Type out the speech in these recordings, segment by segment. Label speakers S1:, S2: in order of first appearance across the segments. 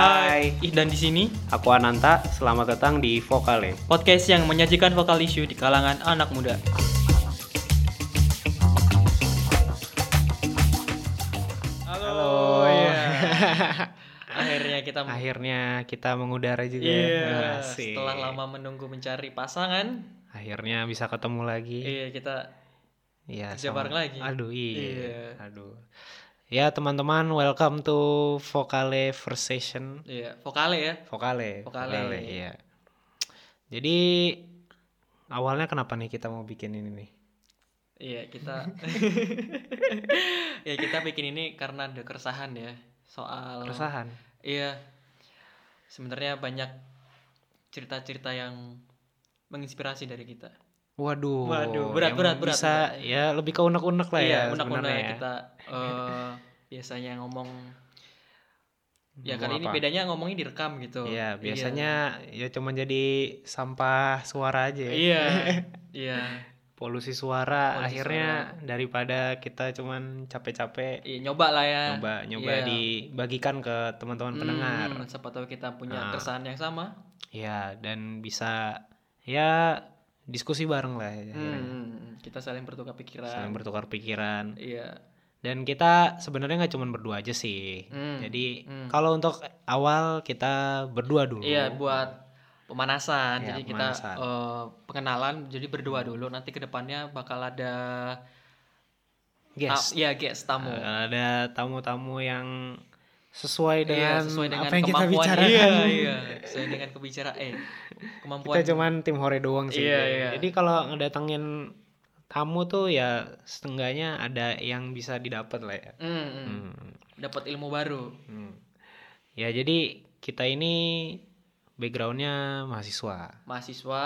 S1: Hai.
S2: Ih dan di sini
S1: Aku Ananta, selamat datang di Vokale.
S2: podcast yang menyajikan vokal isu di kalangan anak muda. Halo. iya. Akhirnya kita
S1: Akhirnya kita mengudara juga. ya.
S2: Iya,
S1: Asik.
S2: setelah lama menunggu mencari pasangan,
S1: Akhirnya bisa ketemu lagi.
S2: iya kita
S1: Iya.
S2: kerja
S1: sama-
S2: bareng lagi.
S1: Aduh iya.
S2: Iya.
S1: Aduh. Ya teman-teman, welcome to Vokale First Session.
S2: iya vokale ya.
S1: Vokale.
S2: Vokale.
S1: Iya. Jadi awalnya kenapa nih kita mau bikin ini nih?
S2: Iya, kita Ya, kita bikin ini karena ada keresahan ya soal
S1: Keresahan.
S2: Iya. Sebenarnya banyak cerita-cerita yang menginspirasi dari kita.
S1: Waduh.
S2: Waduh, berat,
S1: yang
S2: berat, berat,
S1: Bisa
S2: berat.
S1: ya lebih ke unek-unek lah
S2: iya,
S1: ya
S2: undang-undang
S1: sebenarnya. ya.
S2: kita eh, biasanya ngomong ya
S1: Ngomong
S2: kali ini
S1: apa?
S2: bedanya ngomongnya direkam gitu.
S1: Iya, biasanya ya cuma jadi sampah suara aja.
S2: Iya.
S1: ya.
S2: Iya. Iya,
S1: Polusi suara
S2: Polusi
S1: akhirnya daripada kita cuman capek-capek
S2: Iya, nyoba lah ya.
S1: nyoba nyoba
S2: Iya.
S1: dibagikan ke teman-teman
S2: Hmm,
S1: pendengar.
S2: siapa tahu kita punya
S1: Nah.
S2: keresahan yang sama.
S1: Ya, dan bisa ya diskusi bareng lah ya. akhirnya.
S2: Hmm, kita saling bertukar pikiran.
S1: Saling bertukar pikiran.
S2: Iya.
S1: Dan kita sebenarnya nggak cuman berdua aja sih.
S2: Hmm,
S1: Jadi
S2: hmm.
S1: kalau untuk awal kita berdua dulu.
S2: Iya buat pemanasan.
S1: Iya,
S2: jadi
S1: pemanasan.
S2: kita eh, pengenalan. Jadi berdua dulu. Nanti kedepannya bakal ada
S1: guest. Ah.
S2: ta- ya guest tamu.
S1: Bakal Eh, ada tamu-tamu yang sesuai
S2: Iya,
S1: dengan,
S2: sesuai dengan
S1: apa yang kita
S2: kemampuan.
S1: bicarakan.
S2: Iya iya. Sesuai dengan kebicaraan. Eh kemampuan.
S1: Kita cuman tim hore doang sih.
S2: Iya, iya.
S1: Jadi kalau ngedatengin tamu tuh ya setengahnya ada yang bisa didapat lah ya.
S2: Hmm, hmm.
S1: Hmm,
S2: Dapat ilmu baru.
S1: hmm. Ya jadi kita ini backgroundnya mahasiswa.
S2: Mahasiswa.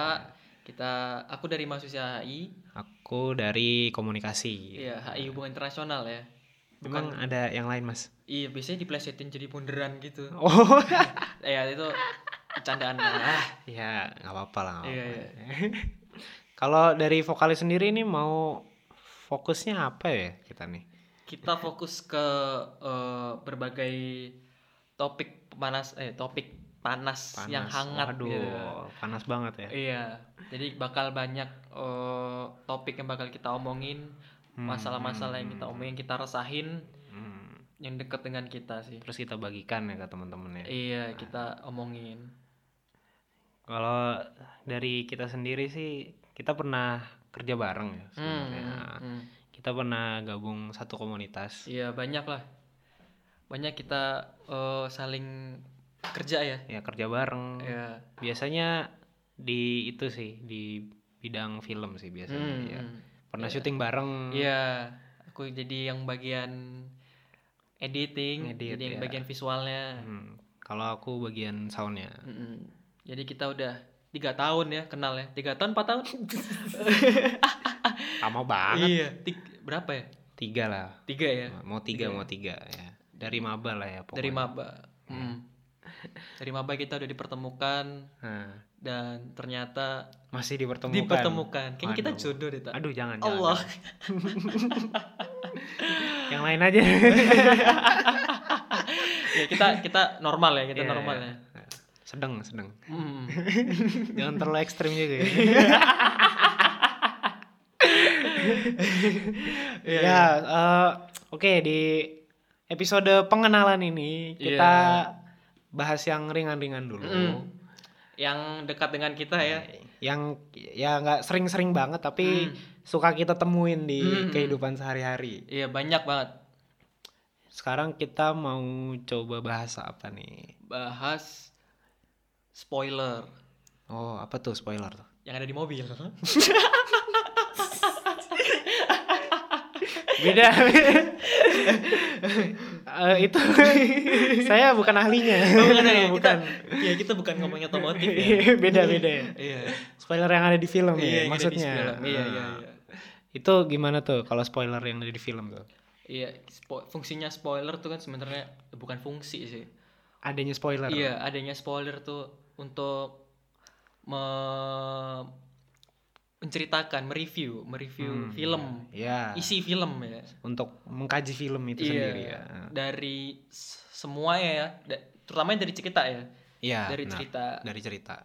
S2: Kita. Aku dari mahasiswa HI.
S1: Aku dari komunikasi.
S2: Iya HI hubungan internasional ya.
S1: Memang
S2: Bukan.
S1: ada yang lain mas?
S2: Iya biasanya diplesetin jadi bunderan gitu.
S1: Oh.
S2: Eh ya, itu candaan lah.
S1: ya nggak apa-apa lah. nggak
S2: Iya,
S1: apa-apa. Kalau dari vokalis sendiri ini mau fokusnya apa ya kita nih?
S2: kita fokus ke eh, berbagai topik panas eh topik panas, yang hangat
S1: Waduh,
S2: gitu.
S1: panas banget ya.
S2: Iya. Jadi bakal banyak eh, topik yang bakal kita omongin,
S1: Hmm,
S2: masalah-masalah yang kita
S1: hmm,
S2: omongin, kita resahin
S1: hmm.
S2: yang deket dengan kita sih.
S1: Terus kita bagikan ya ke teman-teman ya.
S2: Iya, kita omongin.
S1: Kalau dari kita sendiri sih kita pernah kerja bareng ya
S2: Hmm,
S1: sebenarnya.
S2: hmm, hmm.
S1: Kita pernah gabung satu komunitas.
S2: Iya, banyak lah. Banyak kita eh, saling kerja ya.
S1: Ya kerja bareng.
S2: Iya.
S1: Biasanya di itu sih di bidang film sih biasanya
S2: Hmm,
S1: ya.
S2: hmm.
S1: Pernah
S2: Iya.
S1: syuting bareng.
S2: Iya, aku jadi yang bagian editing,
S1: Ngedit,
S2: jadi yang
S1: ya.
S2: bagian visualnya.
S1: Hmm, Kalau aku bagian soundnya.
S2: Mm-mm. Jadi kita udah tiga tahun ya kenal ya, tiga tahun, empat tahun.
S1: Lama banget.
S2: Iya, Tik- berapa ya?
S1: Tiga lah.
S2: Tiga ya,
S1: Mau tiga,
S2: Tiga.
S1: mau tiga ya. Dari maba lah ya pokoknya.
S2: dari maba. Mm. Dari maba kita udah dipertemukan
S1: Nah,
S2: dan ternyata
S1: masih dipertemukan.
S2: dipertemukan. Kayaknya kita
S1: Waduh.
S2: jodoh deh, tak?
S1: Aduh jangan jangan,
S2: Allah.
S1: jangan. Yang lain aja.
S2: ya, kita kita normal ya, kita
S1: Iya,
S2: normal
S1: iya.
S2: ya.
S1: Sedang, sedang.
S2: Mm.
S1: Jangan terlalu ekstrim juga ya.
S2: Iya,
S1: ya, eh, oke di episode pengenalan
S2: Iya.
S1: ini kita bahas yang ringan-ringan dulu.
S2: Mm. Yang dekat dengan kita ya.
S1: Yang ya nggak sering-sering banget tapi
S2: Mm.
S1: suka kita temuin di
S2: Mm.
S1: kehidupan sehari-hari.
S2: Iya, banyak banget.
S1: Sekarang kita mau coba bahas apa nih?
S2: bahas spoiler
S1: Oh, apa tuh spoiler tuh?
S2: yang ada di mobil.
S1: beda Eh, itu saya bukan ahlinya
S2: bukan, ya,
S1: bukan
S2: Kita, ya kita bukan ngomongin otomotif ya.
S1: beda beda ya
S2: Iya.
S1: spoiler yang ada di film ya
S2: Iya, yang ada di
S1: maksudnya
S2: film. Iya, iya,
S1: Ah.
S2: iya.
S1: itu gimana tuh kalau spoiler yang ada di film tuh
S2: Iya, spo- fungsinya spoiler tuh kan sebenarnya bukan fungsi sih.
S1: adanya spoiler
S2: Iya, adanya spoiler tuh untuk me menceritakan, mereview, mereview film,
S1: ya
S2: isi film ya.
S1: Hmm, untuk mengkaji film itu
S2: Iya.
S1: sendiri ya
S2: Dari s- semua ya, da- terutama dari cerita ya,
S1: iya
S2: dari
S1: benar.
S2: cerita.
S1: dari cerita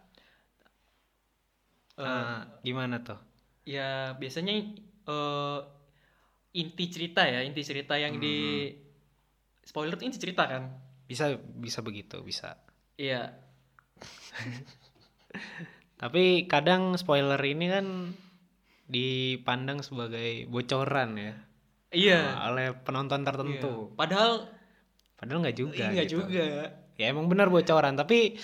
S2: Eh,
S1: Ah, gimana tuh
S2: ya biasanya eh, inti cerita ya, inti cerita yang di
S1: Hmm,
S2: spoiler tuh inti cerita kan.
S1: bisa bisa begitu bisa
S2: Iya,
S1: tapi kadang spoiler ini kan dipandang sebagai bocoran ya
S2: iya.
S1: oleh penonton tertentu
S2: Iya. Padahal
S1: padahal Iya. nggak juga
S2: enggak
S1: gitu.
S2: juga.
S1: ya emang benar bocoran tapi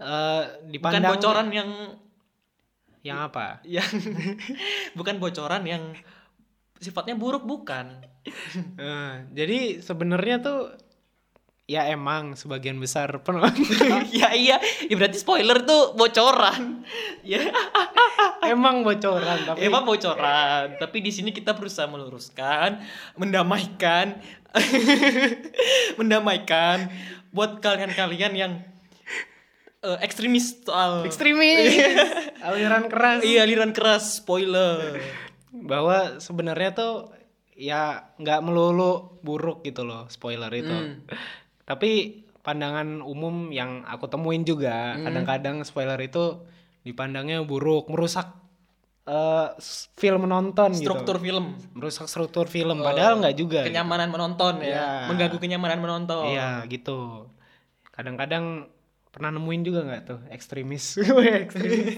S1: eh,
S2: Bukan
S1: dipandang
S2: bocoran yang
S1: yang apa
S2: yang bukan bocoran yang sifatnya buruk bukan.
S1: Eh, jadi sebenarnya tuh ya emang sebagian besar penonton
S2: ya iya, ya berarti spoiler tuh bocoran. ya,
S1: emang bocoran tapi
S2: emang bocoran. Tapi di sini kita berusaha meluruskan, mendamaikan, mendamaikan buat kalian-kalian yang eh, ekstremis soal
S1: ekstremis Iya. aliran keras
S2: iya aliran keras spoiler.
S1: bahwa sebenarnya tuh ya nggak melulu buruk gitu loh spoiler itu
S2: Hmm.
S1: tapi pandangan umum yang aku temuin juga
S2: Hmm.
S1: kadang-kadang spoiler itu dipandangnya buruk merusak eh, s- film menonton
S2: Struktur
S1: gitu
S2: film, Eh,
S1: merusak struktur film padahal nggak juga gitu.
S2: kenyamanan menonton ya,
S1: Iya.
S2: mengganggu kenyamanan menonton.
S1: Iya gitu. Kadang-kadang pernah nemuin juga nggak tuh ekstremis? Weh, ekstremis.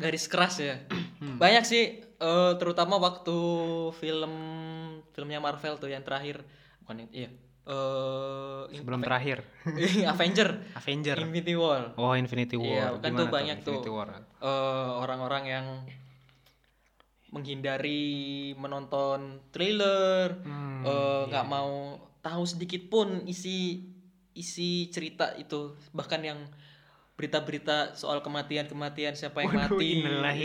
S2: garis keras ya
S1: Hmm.
S2: banyak sih eh, terutama waktu film filmnya Marvel tuh yang terakhir bukan yang iya eh in-
S1: Sebelum terakhir.
S2: Avenger
S1: Avenger.
S2: Infinity War
S1: Oh Infinity War.
S2: Iya, kan tuh
S1: Gimana
S2: banyak tuh.
S1: Infinity War?
S2: Eh, orang-orang yang menghindari menonton trailer
S1: Hmm,
S2: eh, nggak mau tahu sedikit pun isi isi cerita itu bahkan yang berita-berita soal kematian-kematian siapa yang
S1: Waduh,
S2: mati
S1: innalillahi.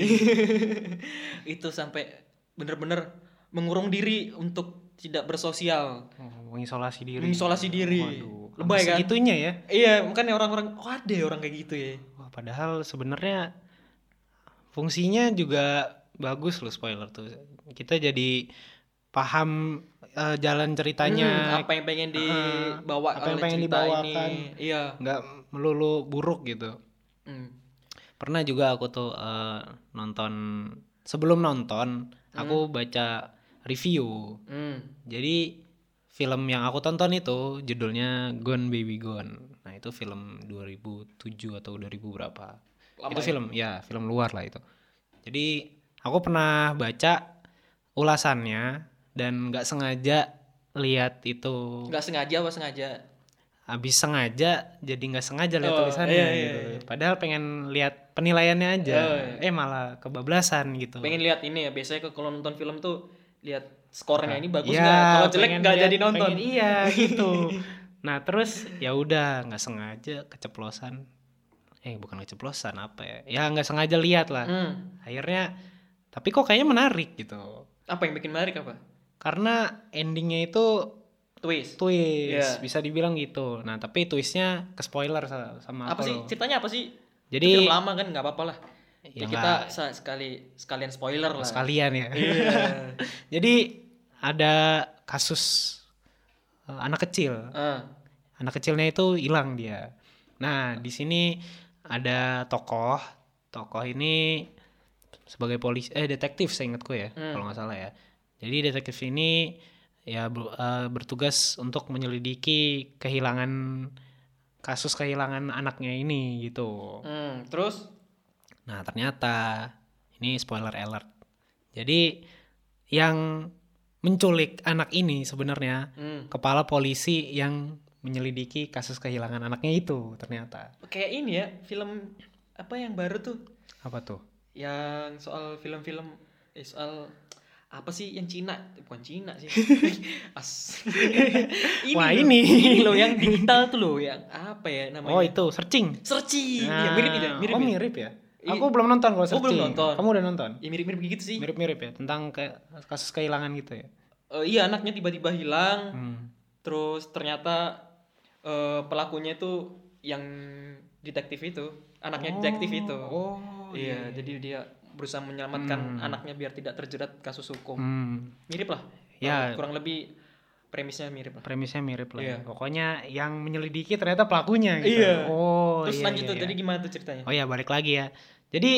S2: itu sampai bener-bener mengurung diri untuk tidak bersosial
S1: Oh, mengisolasi diri.
S2: mengisolasi diri
S1: Waduh. sampai
S2: lebay kan
S1: Segitunya ya.
S2: iya makanya orang-orang oh ada ya orang kayak gitu ya
S1: Wah, padahal sebenarnya fungsinya juga bagus loh spoiler tuh. Kita jadi paham eh, jalan
S2: Hmm,
S1: ceritanya.
S2: apa yang pengen
S1: Ah,
S2: dibawa
S1: apa yang
S2: oleh
S1: pengen
S2: cerita
S1: dibawakan.
S2: ini iya
S1: nggak melulu buruk gitu.
S2: Hmm.
S1: pernah juga aku tuh eh, nonton sebelum nonton aku baca review
S2: Hmm.
S1: jadi film yang aku tonton itu judulnya Gone Baby Gone nah itu film 2007 atau 2000 berapa
S2: Lama
S1: itu
S2: ya?
S1: film ya film luar lah itu jadi aku pernah baca ulasannya dan nggak sengaja lihat itu
S2: ya. nggak sengaja apa sengaja
S1: habis sengaja jadi nggak sengaja lihat
S2: Oh,
S1: tulisannya
S2: iya, iya,
S1: gitu. Padahal pengen lihat penilaiannya aja.
S2: Oh,
S1: Eh malah kebablasan gitu.
S2: pengen lihat ini ya biasanya ke- kalau nonton film tuh lihat skornya ini bagus
S1: Iya,
S2: nggak kalau jelek
S1: pengen
S2: nggak
S1: lihat-
S2: jadi nonton
S1: pengen- iya gitu. nah, terus ya udah nggak sengaja keceplosan. Eh bukan keceplosan apa ya? Ya nggak sengaja lihat lah.
S2: Hmm.
S1: Akhirnya tapi kok kayaknya menarik gitu.
S2: apa yang bikin menarik apa
S1: Karena endingnya itu
S2: twist
S1: twist,
S2: Iya.
S1: bisa dibilang gitu. Nah, tapi twistnya ke spoiler sa- sama
S2: apa
S1: aku
S2: sih
S1: loh.
S2: ceritanya apa sih
S1: Jadi
S2: film lama kan nggak apa-apa lah
S1: Ya
S2: ya, kita sa- sekali sekalian spoiler lah
S1: sekalian ya.
S2: Iya.
S1: Jadi ada kasus eh, anak kecil.
S2: Ah,
S1: Anak kecilnya itu hilang dia. Nah, di sini ada tokoh. Tokoh ini sebagai polisi eh detektif seingatku ya,
S2: Hmm.
S1: kalau nggak salah ya. Jadi detektif ini ya ber- eh, bertugas untuk menyelidiki kehilangan kasus kehilangan anaknya ini gitu.
S2: hmm, terus
S1: Nah ternyata ini spoiler alert. Jadi yang menculik anak ini sebenarnya
S2: hmm,
S1: kepala polisi yang menyelidiki kasus kehilangan anaknya itu ternyata
S2: kayak ini ya film apa yang baru tuh
S1: apa tuh?
S2: yang soal film-film eh, soal apa sih yang Cina bukan Cina sih As-
S1: Wah,
S2: loh.
S1: ini.
S2: ini loh yang digital tuh loh yang apa ya namanya
S1: Oh itu searching.
S2: searching
S1: Nah,
S2: ya mirip ya mirip
S1: oh
S2: ya?
S1: mirip ya.
S2: Iya.
S1: Aku belum nonton kalau
S2: Oh, belum
S1: searching.
S2: nonton.
S1: Kamu udah nonton?
S2: Ya, mirip-mirip gitu sih
S1: Mirip-mirip ya tentang ke- kasus kehilangan gitu ya.
S2: Eh, iya anaknya tiba-tiba hilang
S1: Hmm.
S2: terus ternyata eh, pelakunya itu yang detektif itu anaknya detektif itu
S1: Oh
S2: iya jadi dia berusaha menyelamatkan anaknya biar tidak terjerat kasus hukum.
S1: Hmm,
S2: Mirip lah.
S1: Ya.
S2: Eh, Kurang lebih premisnya mirip lah.
S1: premisnya mirip lah. ya.
S2: Iya.
S1: Pokoknya yang menyelidiki ternyata pelakunya gitu.
S2: Iya.
S1: Oh, iya,
S2: Terus lanjut
S1: iya,
S2: tuh,
S1: iya.
S2: jadi gimana tuh ceritanya?
S1: Oh ya balik lagi ya. Jadi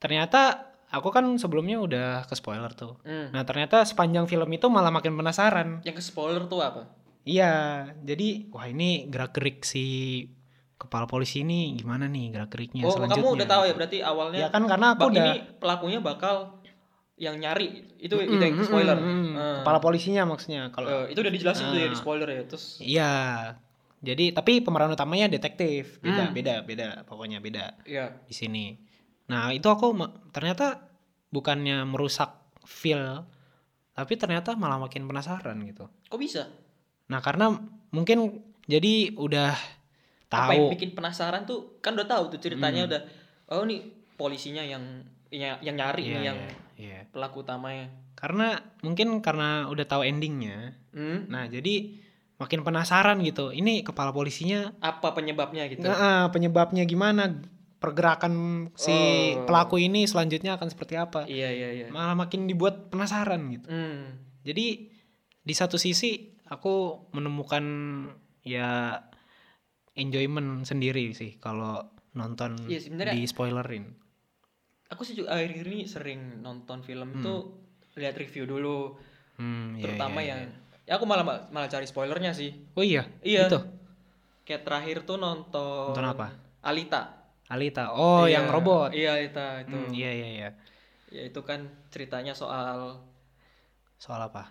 S1: ternyata aku kan sebelumnya udah ke spoiler tuh.
S2: Hmm.
S1: Nah ternyata sepanjang film itu malah makin penasaran.
S2: Yang ke spoiler tuh apa?
S1: Iya, jadi wah ini gerak gerik si kepala polisi ini gimana nih gerak geriknya
S2: oh,
S1: Iya, selanjutnya?
S2: kamu udah tahu ya berarti awalnya
S1: Ya kan karena aku
S2: bak-
S1: udah
S2: ini pelakunya bakal yang nyari itu
S1: Mm,
S2: itu yang
S1: mm,
S2: spoiler.
S1: mm, mm.
S2: Eh,
S1: Kepala polisinya maksudnya kalau
S2: eh, itu udah dijelasin tuh ya di
S1: Ah.
S2: spoiler ya. Terus
S1: Iya. Jadi tapi pemeran utamanya detektif. Beda,
S2: Hmm.
S1: beda, beda. Pokoknya beda
S2: ya
S1: di sini. Nah, itu aku ma- ternyata bukannya merusak feel tapi ternyata malah makin penasaran gitu.
S2: kok bisa?
S1: Nah, karena mungkin jadi udah
S2: Apa yang
S1: tahu
S2: bikin penasaran tuh kan udah tahu tuh
S1: Hmm.
S2: ceritanya udah oh nih polisinya yang yang, yang
S1: Iya,
S2: nyari nih yang
S1: iya, iya.
S2: pelaku utamanya.
S1: Karena mungkin karena udah tahu endingnya.
S2: Hmm?
S1: Nah, jadi makin penasaran gitu. Ini kepala polisinya
S2: Apa penyebabnya gitu?
S1: nah, ah, penyebabnya gimana? Pergerakan si
S2: Oh.
S1: pelaku ini selanjutnya akan seperti apa?
S2: Iya iya iya.
S1: Malah makin dibuat penasaran gitu.
S2: Hmm.
S1: Jadi di satu sisi aku menemukan ya enjoyment sendiri sih kalau nonton
S2: Iya, sebenarnya-
S1: di spoilerin.
S2: Aku sih juga akhir-akhir ini sering nonton film
S1: Hmm.
S2: tuh lihat review dulu
S1: Hmm, iya,
S2: terutama
S1: iya,
S2: yang ya aku malah malah cari spoilernya sih.
S1: iya. Oh iya.
S2: Iya.
S1: Itu
S2: Kayak terakhir tuh nonton
S1: Nonton apa?
S2: Alita.
S1: Alita. Oh,
S2: Iya,
S1: yang robot.
S2: Iya, Alita itu.
S1: Hmm, iya iya iya.
S2: Ya itu kan ceritanya soal
S1: Soal apa?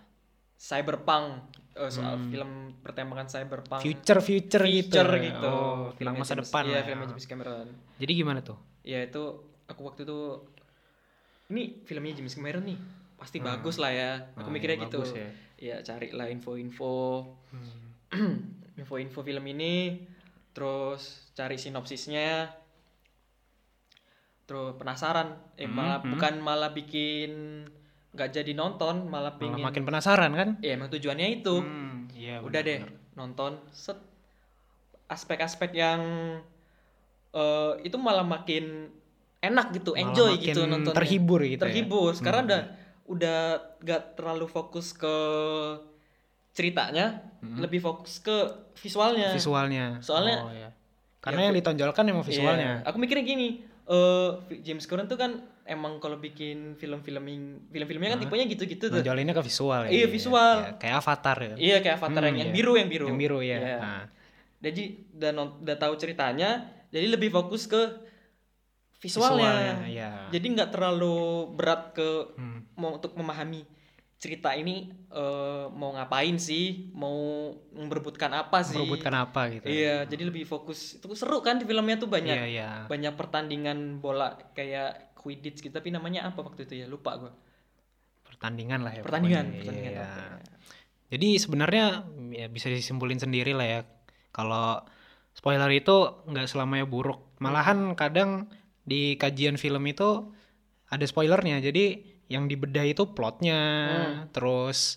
S2: cyberpunk, eh, soal film pertembakan
S1: Hmm.
S2: cyberpunk.
S1: Future future, gitu.
S2: Future gitu.
S1: Oh, film
S2: Filmnya
S1: masa
S2: James-
S1: depan.
S2: Iya,
S1: lah. ya.
S2: filmnya James Cameron.
S1: Jadi gimana tuh?
S2: Ya itu aku waktu itu ini filmnya James Cameron nih. Pasti bagus lah ya. Aku
S1: Ah,
S2: mikirnya
S1: ya,
S2: gitu.
S1: Hmm. bagus ya.
S2: Ya cari lah info-info
S1: Hmm.
S2: info-info film ini terus cari sinopsisnya terus penasaran eh
S1: Hmm,
S2: malah
S1: hmm.
S2: bukan malah bikin nggak jadi nonton malah
S1: Malah
S2: pingin
S1: makin penasaran kan?
S2: ya emang tujuannya itu
S1: Hmm, iya,
S2: udah deh
S1: benar-benar.
S2: nonton set aspek-aspek yang eh, itu malah makin enak gitu
S1: Malah
S2: enjoy
S1: makin
S2: gitu nonton
S1: terhibur gitu ya?
S2: terhibur karena
S1: Hmm.
S2: udah udah gak terlalu fokus ke ceritanya
S1: Hmm.
S2: lebih fokus ke visualnya
S1: Visualnya.
S2: Soalnya-
S1: Oh, iya. Karena yang ditonjolkan emang
S2: Iya.
S1: visualnya.
S2: aku mikirnya gini eh James Cameron tuh kan emang kalau bikin film-film film-filmnya kan tipenya gitu-gitu tuh
S1: Nonjolinnya ke visual ya.
S2: Iya, visual.
S1: Iya, kayak avatar ya.
S2: iya kayak Avatar yang,
S1: Hmm,
S2: yang
S1: iya.
S2: biru yang biru
S1: Yang biru ya.
S2: Iya.
S1: Nah,
S2: jadi udah non- udah tahu ceritanya jadi lebih fokus ke
S1: visualnya.
S2: visualnya,
S1: Iya.
S2: jadi nggak terlalu berat ke
S1: Hmm.
S2: mau untuk memahami cerita ini eh, mau ngapain sih mau memperebutkan apa sih
S1: Merebutkan apa gitu.
S2: iya jadi lebih fokus itu seru kan di filmnya tuh banyak
S1: Iya, iya.
S2: banyak pertandingan bola kayak Quidditch gitu tapi namanya apa waktu itu ya lupa gua
S1: Pertandingan lah ya.
S2: pertandingan
S1: pokoknya.
S2: pertandingan
S1: Iya.
S2: pokoknya.
S1: Jadi sebenarnya ya, bisa disimpulin sendiri lah ya. Kalau spoiler itu nggak selamanya buruk. Malahan kadang di kajian film itu ada spoilernya. Jadi yang dibedah itu plotnya,
S2: Hmm.
S1: terus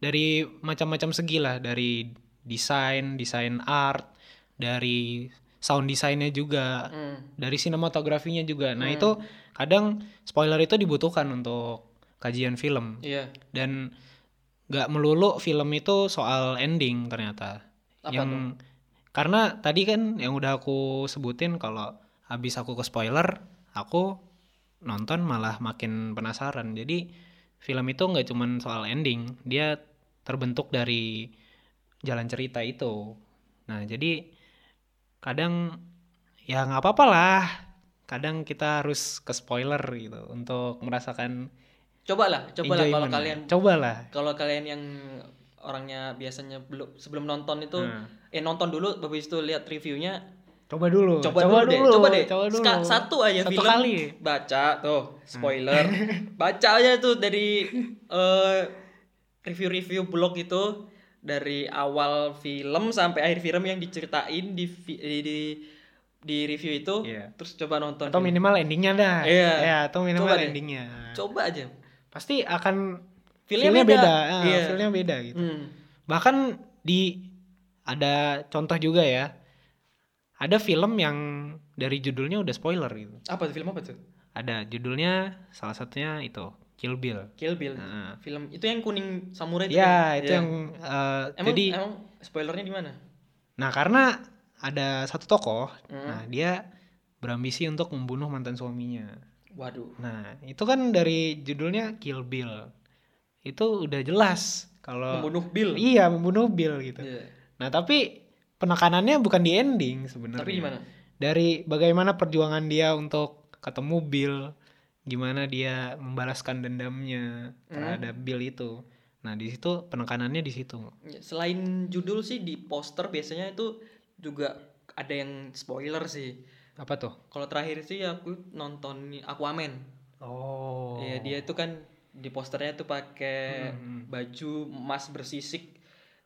S1: dari macam-macam segi lah, dari desain, desain art, dari sound desainnya juga,
S2: Hmm.
S1: dari sinematografinya juga. Nah itu kadang spoiler itu dibutuhkan untuk kajian film
S2: iya
S1: dan nggak melulu film itu soal ending ternyata
S2: Apa
S1: yang karena tadi kan yang udah aku sebutin kalau habis aku ke spoiler aku nonton malah makin penasaran jadi film itu nggak cuman soal ending dia terbentuk dari jalan cerita itu nah jadi kadang ya nggak apa-apa lah kadang kita harus ke spoiler gitu untuk merasakan
S2: cobalah cobalah kalau
S1: enjoyment. ya.
S2: kalian
S1: cobalah
S2: kalau kalian yang orangnya biasanya belum sebelum nonton itu
S1: Hmm.
S2: eh nonton dulu habis itu lihat reviewnya
S1: Oh, Coba dulu.
S2: coba, dulu, deh coba deh Ska- satu aja
S1: Satu
S2: film
S1: kali.
S2: baca tuh
S1: Hmm.
S2: spoiler baca aja tuh dari eh, review-review blog itu dari awal film sampai akhir film yang diceritain di vi- di di, di review itu
S1: Iya.
S2: terus coba nonton
S1: Atau
S2: film.
S1: minimal endingnya dah.
S2: Iya.
S1: Ya, atau minimal
S2: Coba deh.
S1: endingnya.
S2: coba aja
S1: Pasti akan
S2: Feel-nya
S1: feel-nya
S2: beda.
S1: Ah,
S2: Iya.
S1: feel-nya beda gitu.
S2: Hmm.
S1: Bahkan di ada contoh juga ya. Ada film yang dari judulnya udah spoiler gitu.
S2: apa tuh film apa tuh
S1: Ada judulnya salah satunya itu Kill Bill.
S2: Kill Bill.
S1: Nah,
S2: Film itu yang kuning samurai itu.
S1: ya
S2: kan?
S1: itu
S2: Iya.
S1: yang eh,
S2: Emang,
S1: jadi.
S2: emang spoilernya di mana?
S1: Nah karena ada satu tokoh,
S2: Hmm.
S1: nah dia berambisi untuk membunuh mantan suaminya.
S2: Waduh.
S1: Nah itu kan dari judulnya Kill Bill, itu udah jelas kalau
S2: Membunuh Bill.
S1: Eh, iya membunuh Bill gitu.
S2: Iya.
S1: Nah tapi penekanannya bukan di ending sebenarnya.
S2: Tapi gimana?
S1: Dari bagaimana perjuangan dia untuk ketemu Bill, gimana dia membalaskan dendamnya
S2: Hmm.
S1: terhadap Bill itu. Nah di situ penekanannya di situ.
S2: Ya, Selain judul sih di poster biasanya itu juga ada yang spoiler sih.
S1: Apa tuh?
S2: Kalau terakhir sih aku nonton Aquaman.
S1: Oh. Hmm.
S2: Ya dia itu kan di posternya tuh pakai
S1: Mm-mm.
S2: baju emas bersisik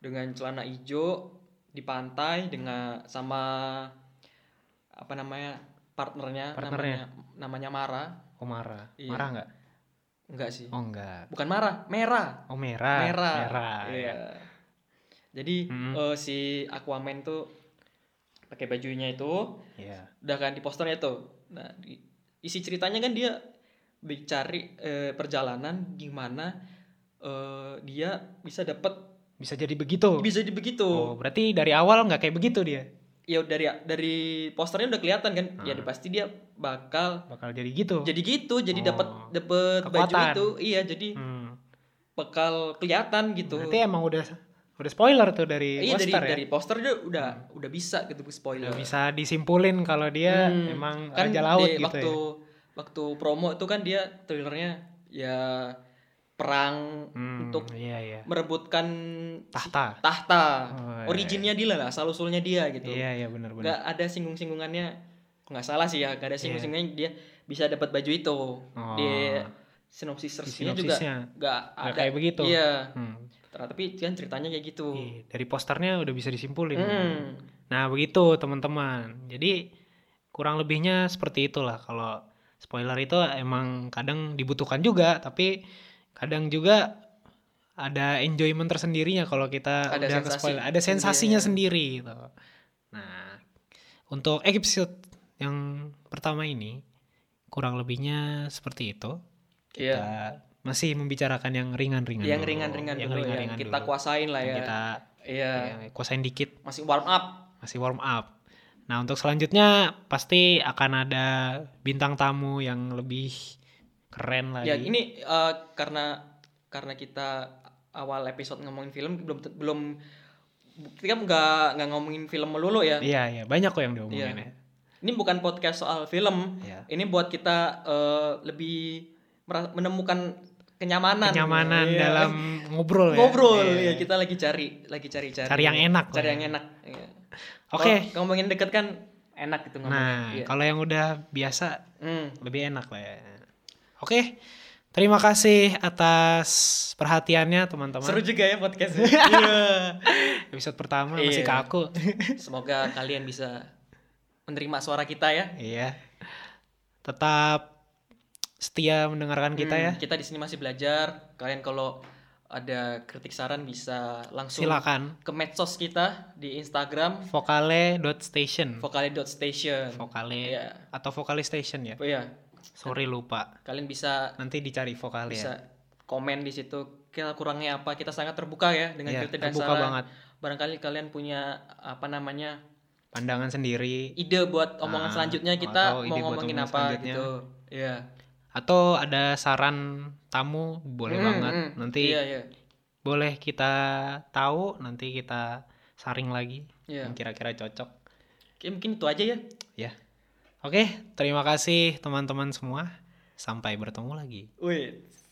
S2: dengan celana hijau di pantai dengan sama apa namanya partnernya,
S1: Partnernya.
S2: namanya namanya Mara
S1: Oh marah.
S2: Iya.
S1: Marah nggak?
S2: enggak sih
S1: Oh enggak.
S2: bukan Mara Merah
S1: Oh merah.
S2: Merah,
S1: Merah.
S2: Iya. jadi
S1: Mm-mm.
S2: eh, si Aquaman tuh pakai bajunya itu
S1: Iya.
S2: udah kan di posternya tuh nah di- isi ceritanya kan dia dicari eh, perjalanan gimana eh, dia bisa dapet
S1: Bisa jadi begitu.
S2: bisa di
S1: Oh
S2: begitu
S1: berarti dari awal nggak kayak begitu dia.
S2: ya dari dari posternya udah kelihatan kan ya
S1: Hmm.
S2: pasti dia bakal
S1: Bakal jadi gitu.
S2: jadi gitu jadi dapat
S1: Oh.
S2: dapat baju
S1: Kekuatan.
S2: itu iya jadi
S1: Hmm.
S2: bakal kelihatan gitu
S1: Berarti emang udah udah spoiler tuh dari
S2: iya dari
S1: poster ya. Hmm.
S2: dari poster dia udah udah bisa gitu spoiler
S1: Udah bisa disimpulin kalau dia
S2: Hmm,
S1: Iya, emang
S2: kan
S1: raja laut
S2: di
S1: gitu
S2: waktu
S1: ya.
S2: waktu promo itu kan dia trailernya ya perang
S1: Hmm,
S2: untuk gitu.
S1: iya iya.
S2: merebutkan
S1: Tahta.
S2: tahta
S1: Oh, iya,
S2: originnya dia lah asal usulnya dia gitu
S1: Iya iya benar benar.
S2: nggak ada singgung singgungannya nggak salah sih ya nggak ada singgung singgungannya dia bisa dapat baju itu
S1: Oh.
S2: di sinopsis resminya juga
S1: sinopsisnya.
S2: nggak ada
S1: kayak begitu.
S2: iya
S1: Hmm.
S2: Ter- tapi kan ceritanya kayak gitu
S1: Iya, dari posternya udah bisa disimpulin.
S2: Hmm.
S1: Nah, begitu teman-teman. Jadi kurang lebihnya seperti itulah kalau spoiler itu emang kadang dibutuhkan juga, tapi kadang juga ada enjoyment tersendirinya kalau kita udah
S2: Ada
S1: ke
S2: sensasi Iya,
S1: spoiler. Ada sensasinya sendiri gitu. Nah, untuk episode yang pertama ini kurang lebihnya seperti itu.
S2: Iya.
S1: Kita masih membicarakan yang ringan-ringan.
S2: yang
S1: dulu.
S2: ringan-ringan
S1: yang
S2: dulu
S1: ringan-ringan
S2: yang kita
S1: dulu.
S2: kuasain lah
S1: Yang
S2: ya
S1: Kita
S2: iya
S1: yang kuasain dikit
S2: masih warm up
S1: masih warm up. Nah untuk selanjutnya pasti akan ada bintang tamu yang lebih keren lagi.
S2: ya ini eh, karena karena kita awal episode ngomongin film belum belum kita nggak nggak ngomongin film melulu ya
S1: Iya iya banyak kok yang diomongin ya.
S2: ini bukan podcast soal film
S1: Iya.
S2: ini buat kita eh, lebih mera- menemukan kenyamanan
S1: Kenyamanan
S2: Iya.
S1: dalam ngobrol ya.
S2: ngobrol
S1: Iya.
S2: ya kita lagi cari lagi cari cari
S1: Cari yang enak
S2: cari
S1: lah
S2: yang
S1: ya.
S2: enak Iya.
S1: Oke.
S2: Kalau ngomongin deket kan enak gitu ngomongin
S1: Nah
S2: Iya.
S1: kalau yang udah biasa
S2: Hmm.
S1: lebih enak lah ya. Oke. Terima kasih atas perhatiannya
S2: seru
S1: teman-teman.
S2: juga ya podcastnya Iya.
S1: Episode pertama masih
S2: Iya.
S1: kaku.
S2: semoga kalian bisa menerima suara kita ya
S1: iya. Tetap setia mendengarkan kita
S2: Hmm,
S1: ya.
S2: kita di sini masih belajar kalian kalau ada kritik saran bisa langsung
S1: Silakan.
S2: ke medsos kita di Instagram
S1: Vokale.station.
S2: vokale.station
S1: Vokale
S2: Iya.
S1: atau Vokale Station ya.
S2: Oh iya,
S1: Sorry lupa.
S2: kalian bisa
S1: Nanti dicari Vokale ya.
S2: bisa komen di situ kita kurangnya apa kita sangat terbuka ya dengan
S1: Iya,
S2: kritik dan
S1: terbuka
S2: saran.
S1: banget.
S2: barangkali kalian punya apa namanya
S1: Pandangan sendiri
S2: ide buat
S1: Ah,
S2: omongan selanjutnya
S1: atau
S2: kita
S1: ide
S2: mau
S1: buat
S2: ngomongin
S1: omongan
S2: apa
S1: selanjutnya.
S2: gitu Iya
S1: atau ada saran tamu boleh
S2: Hmm,
S1: banget.
S2: hmm.
S1: Nanti
S2: iya iya
S1: boleh kita tahu, nanti kita saring lagi
S2: Iya.
S1: yang kira-kira cocok
S2: Oke, mungkin itu aja ya
S1: ya. Oke, terima kasih teman-teman semua. Sampai bertemu lagi.
S2: wait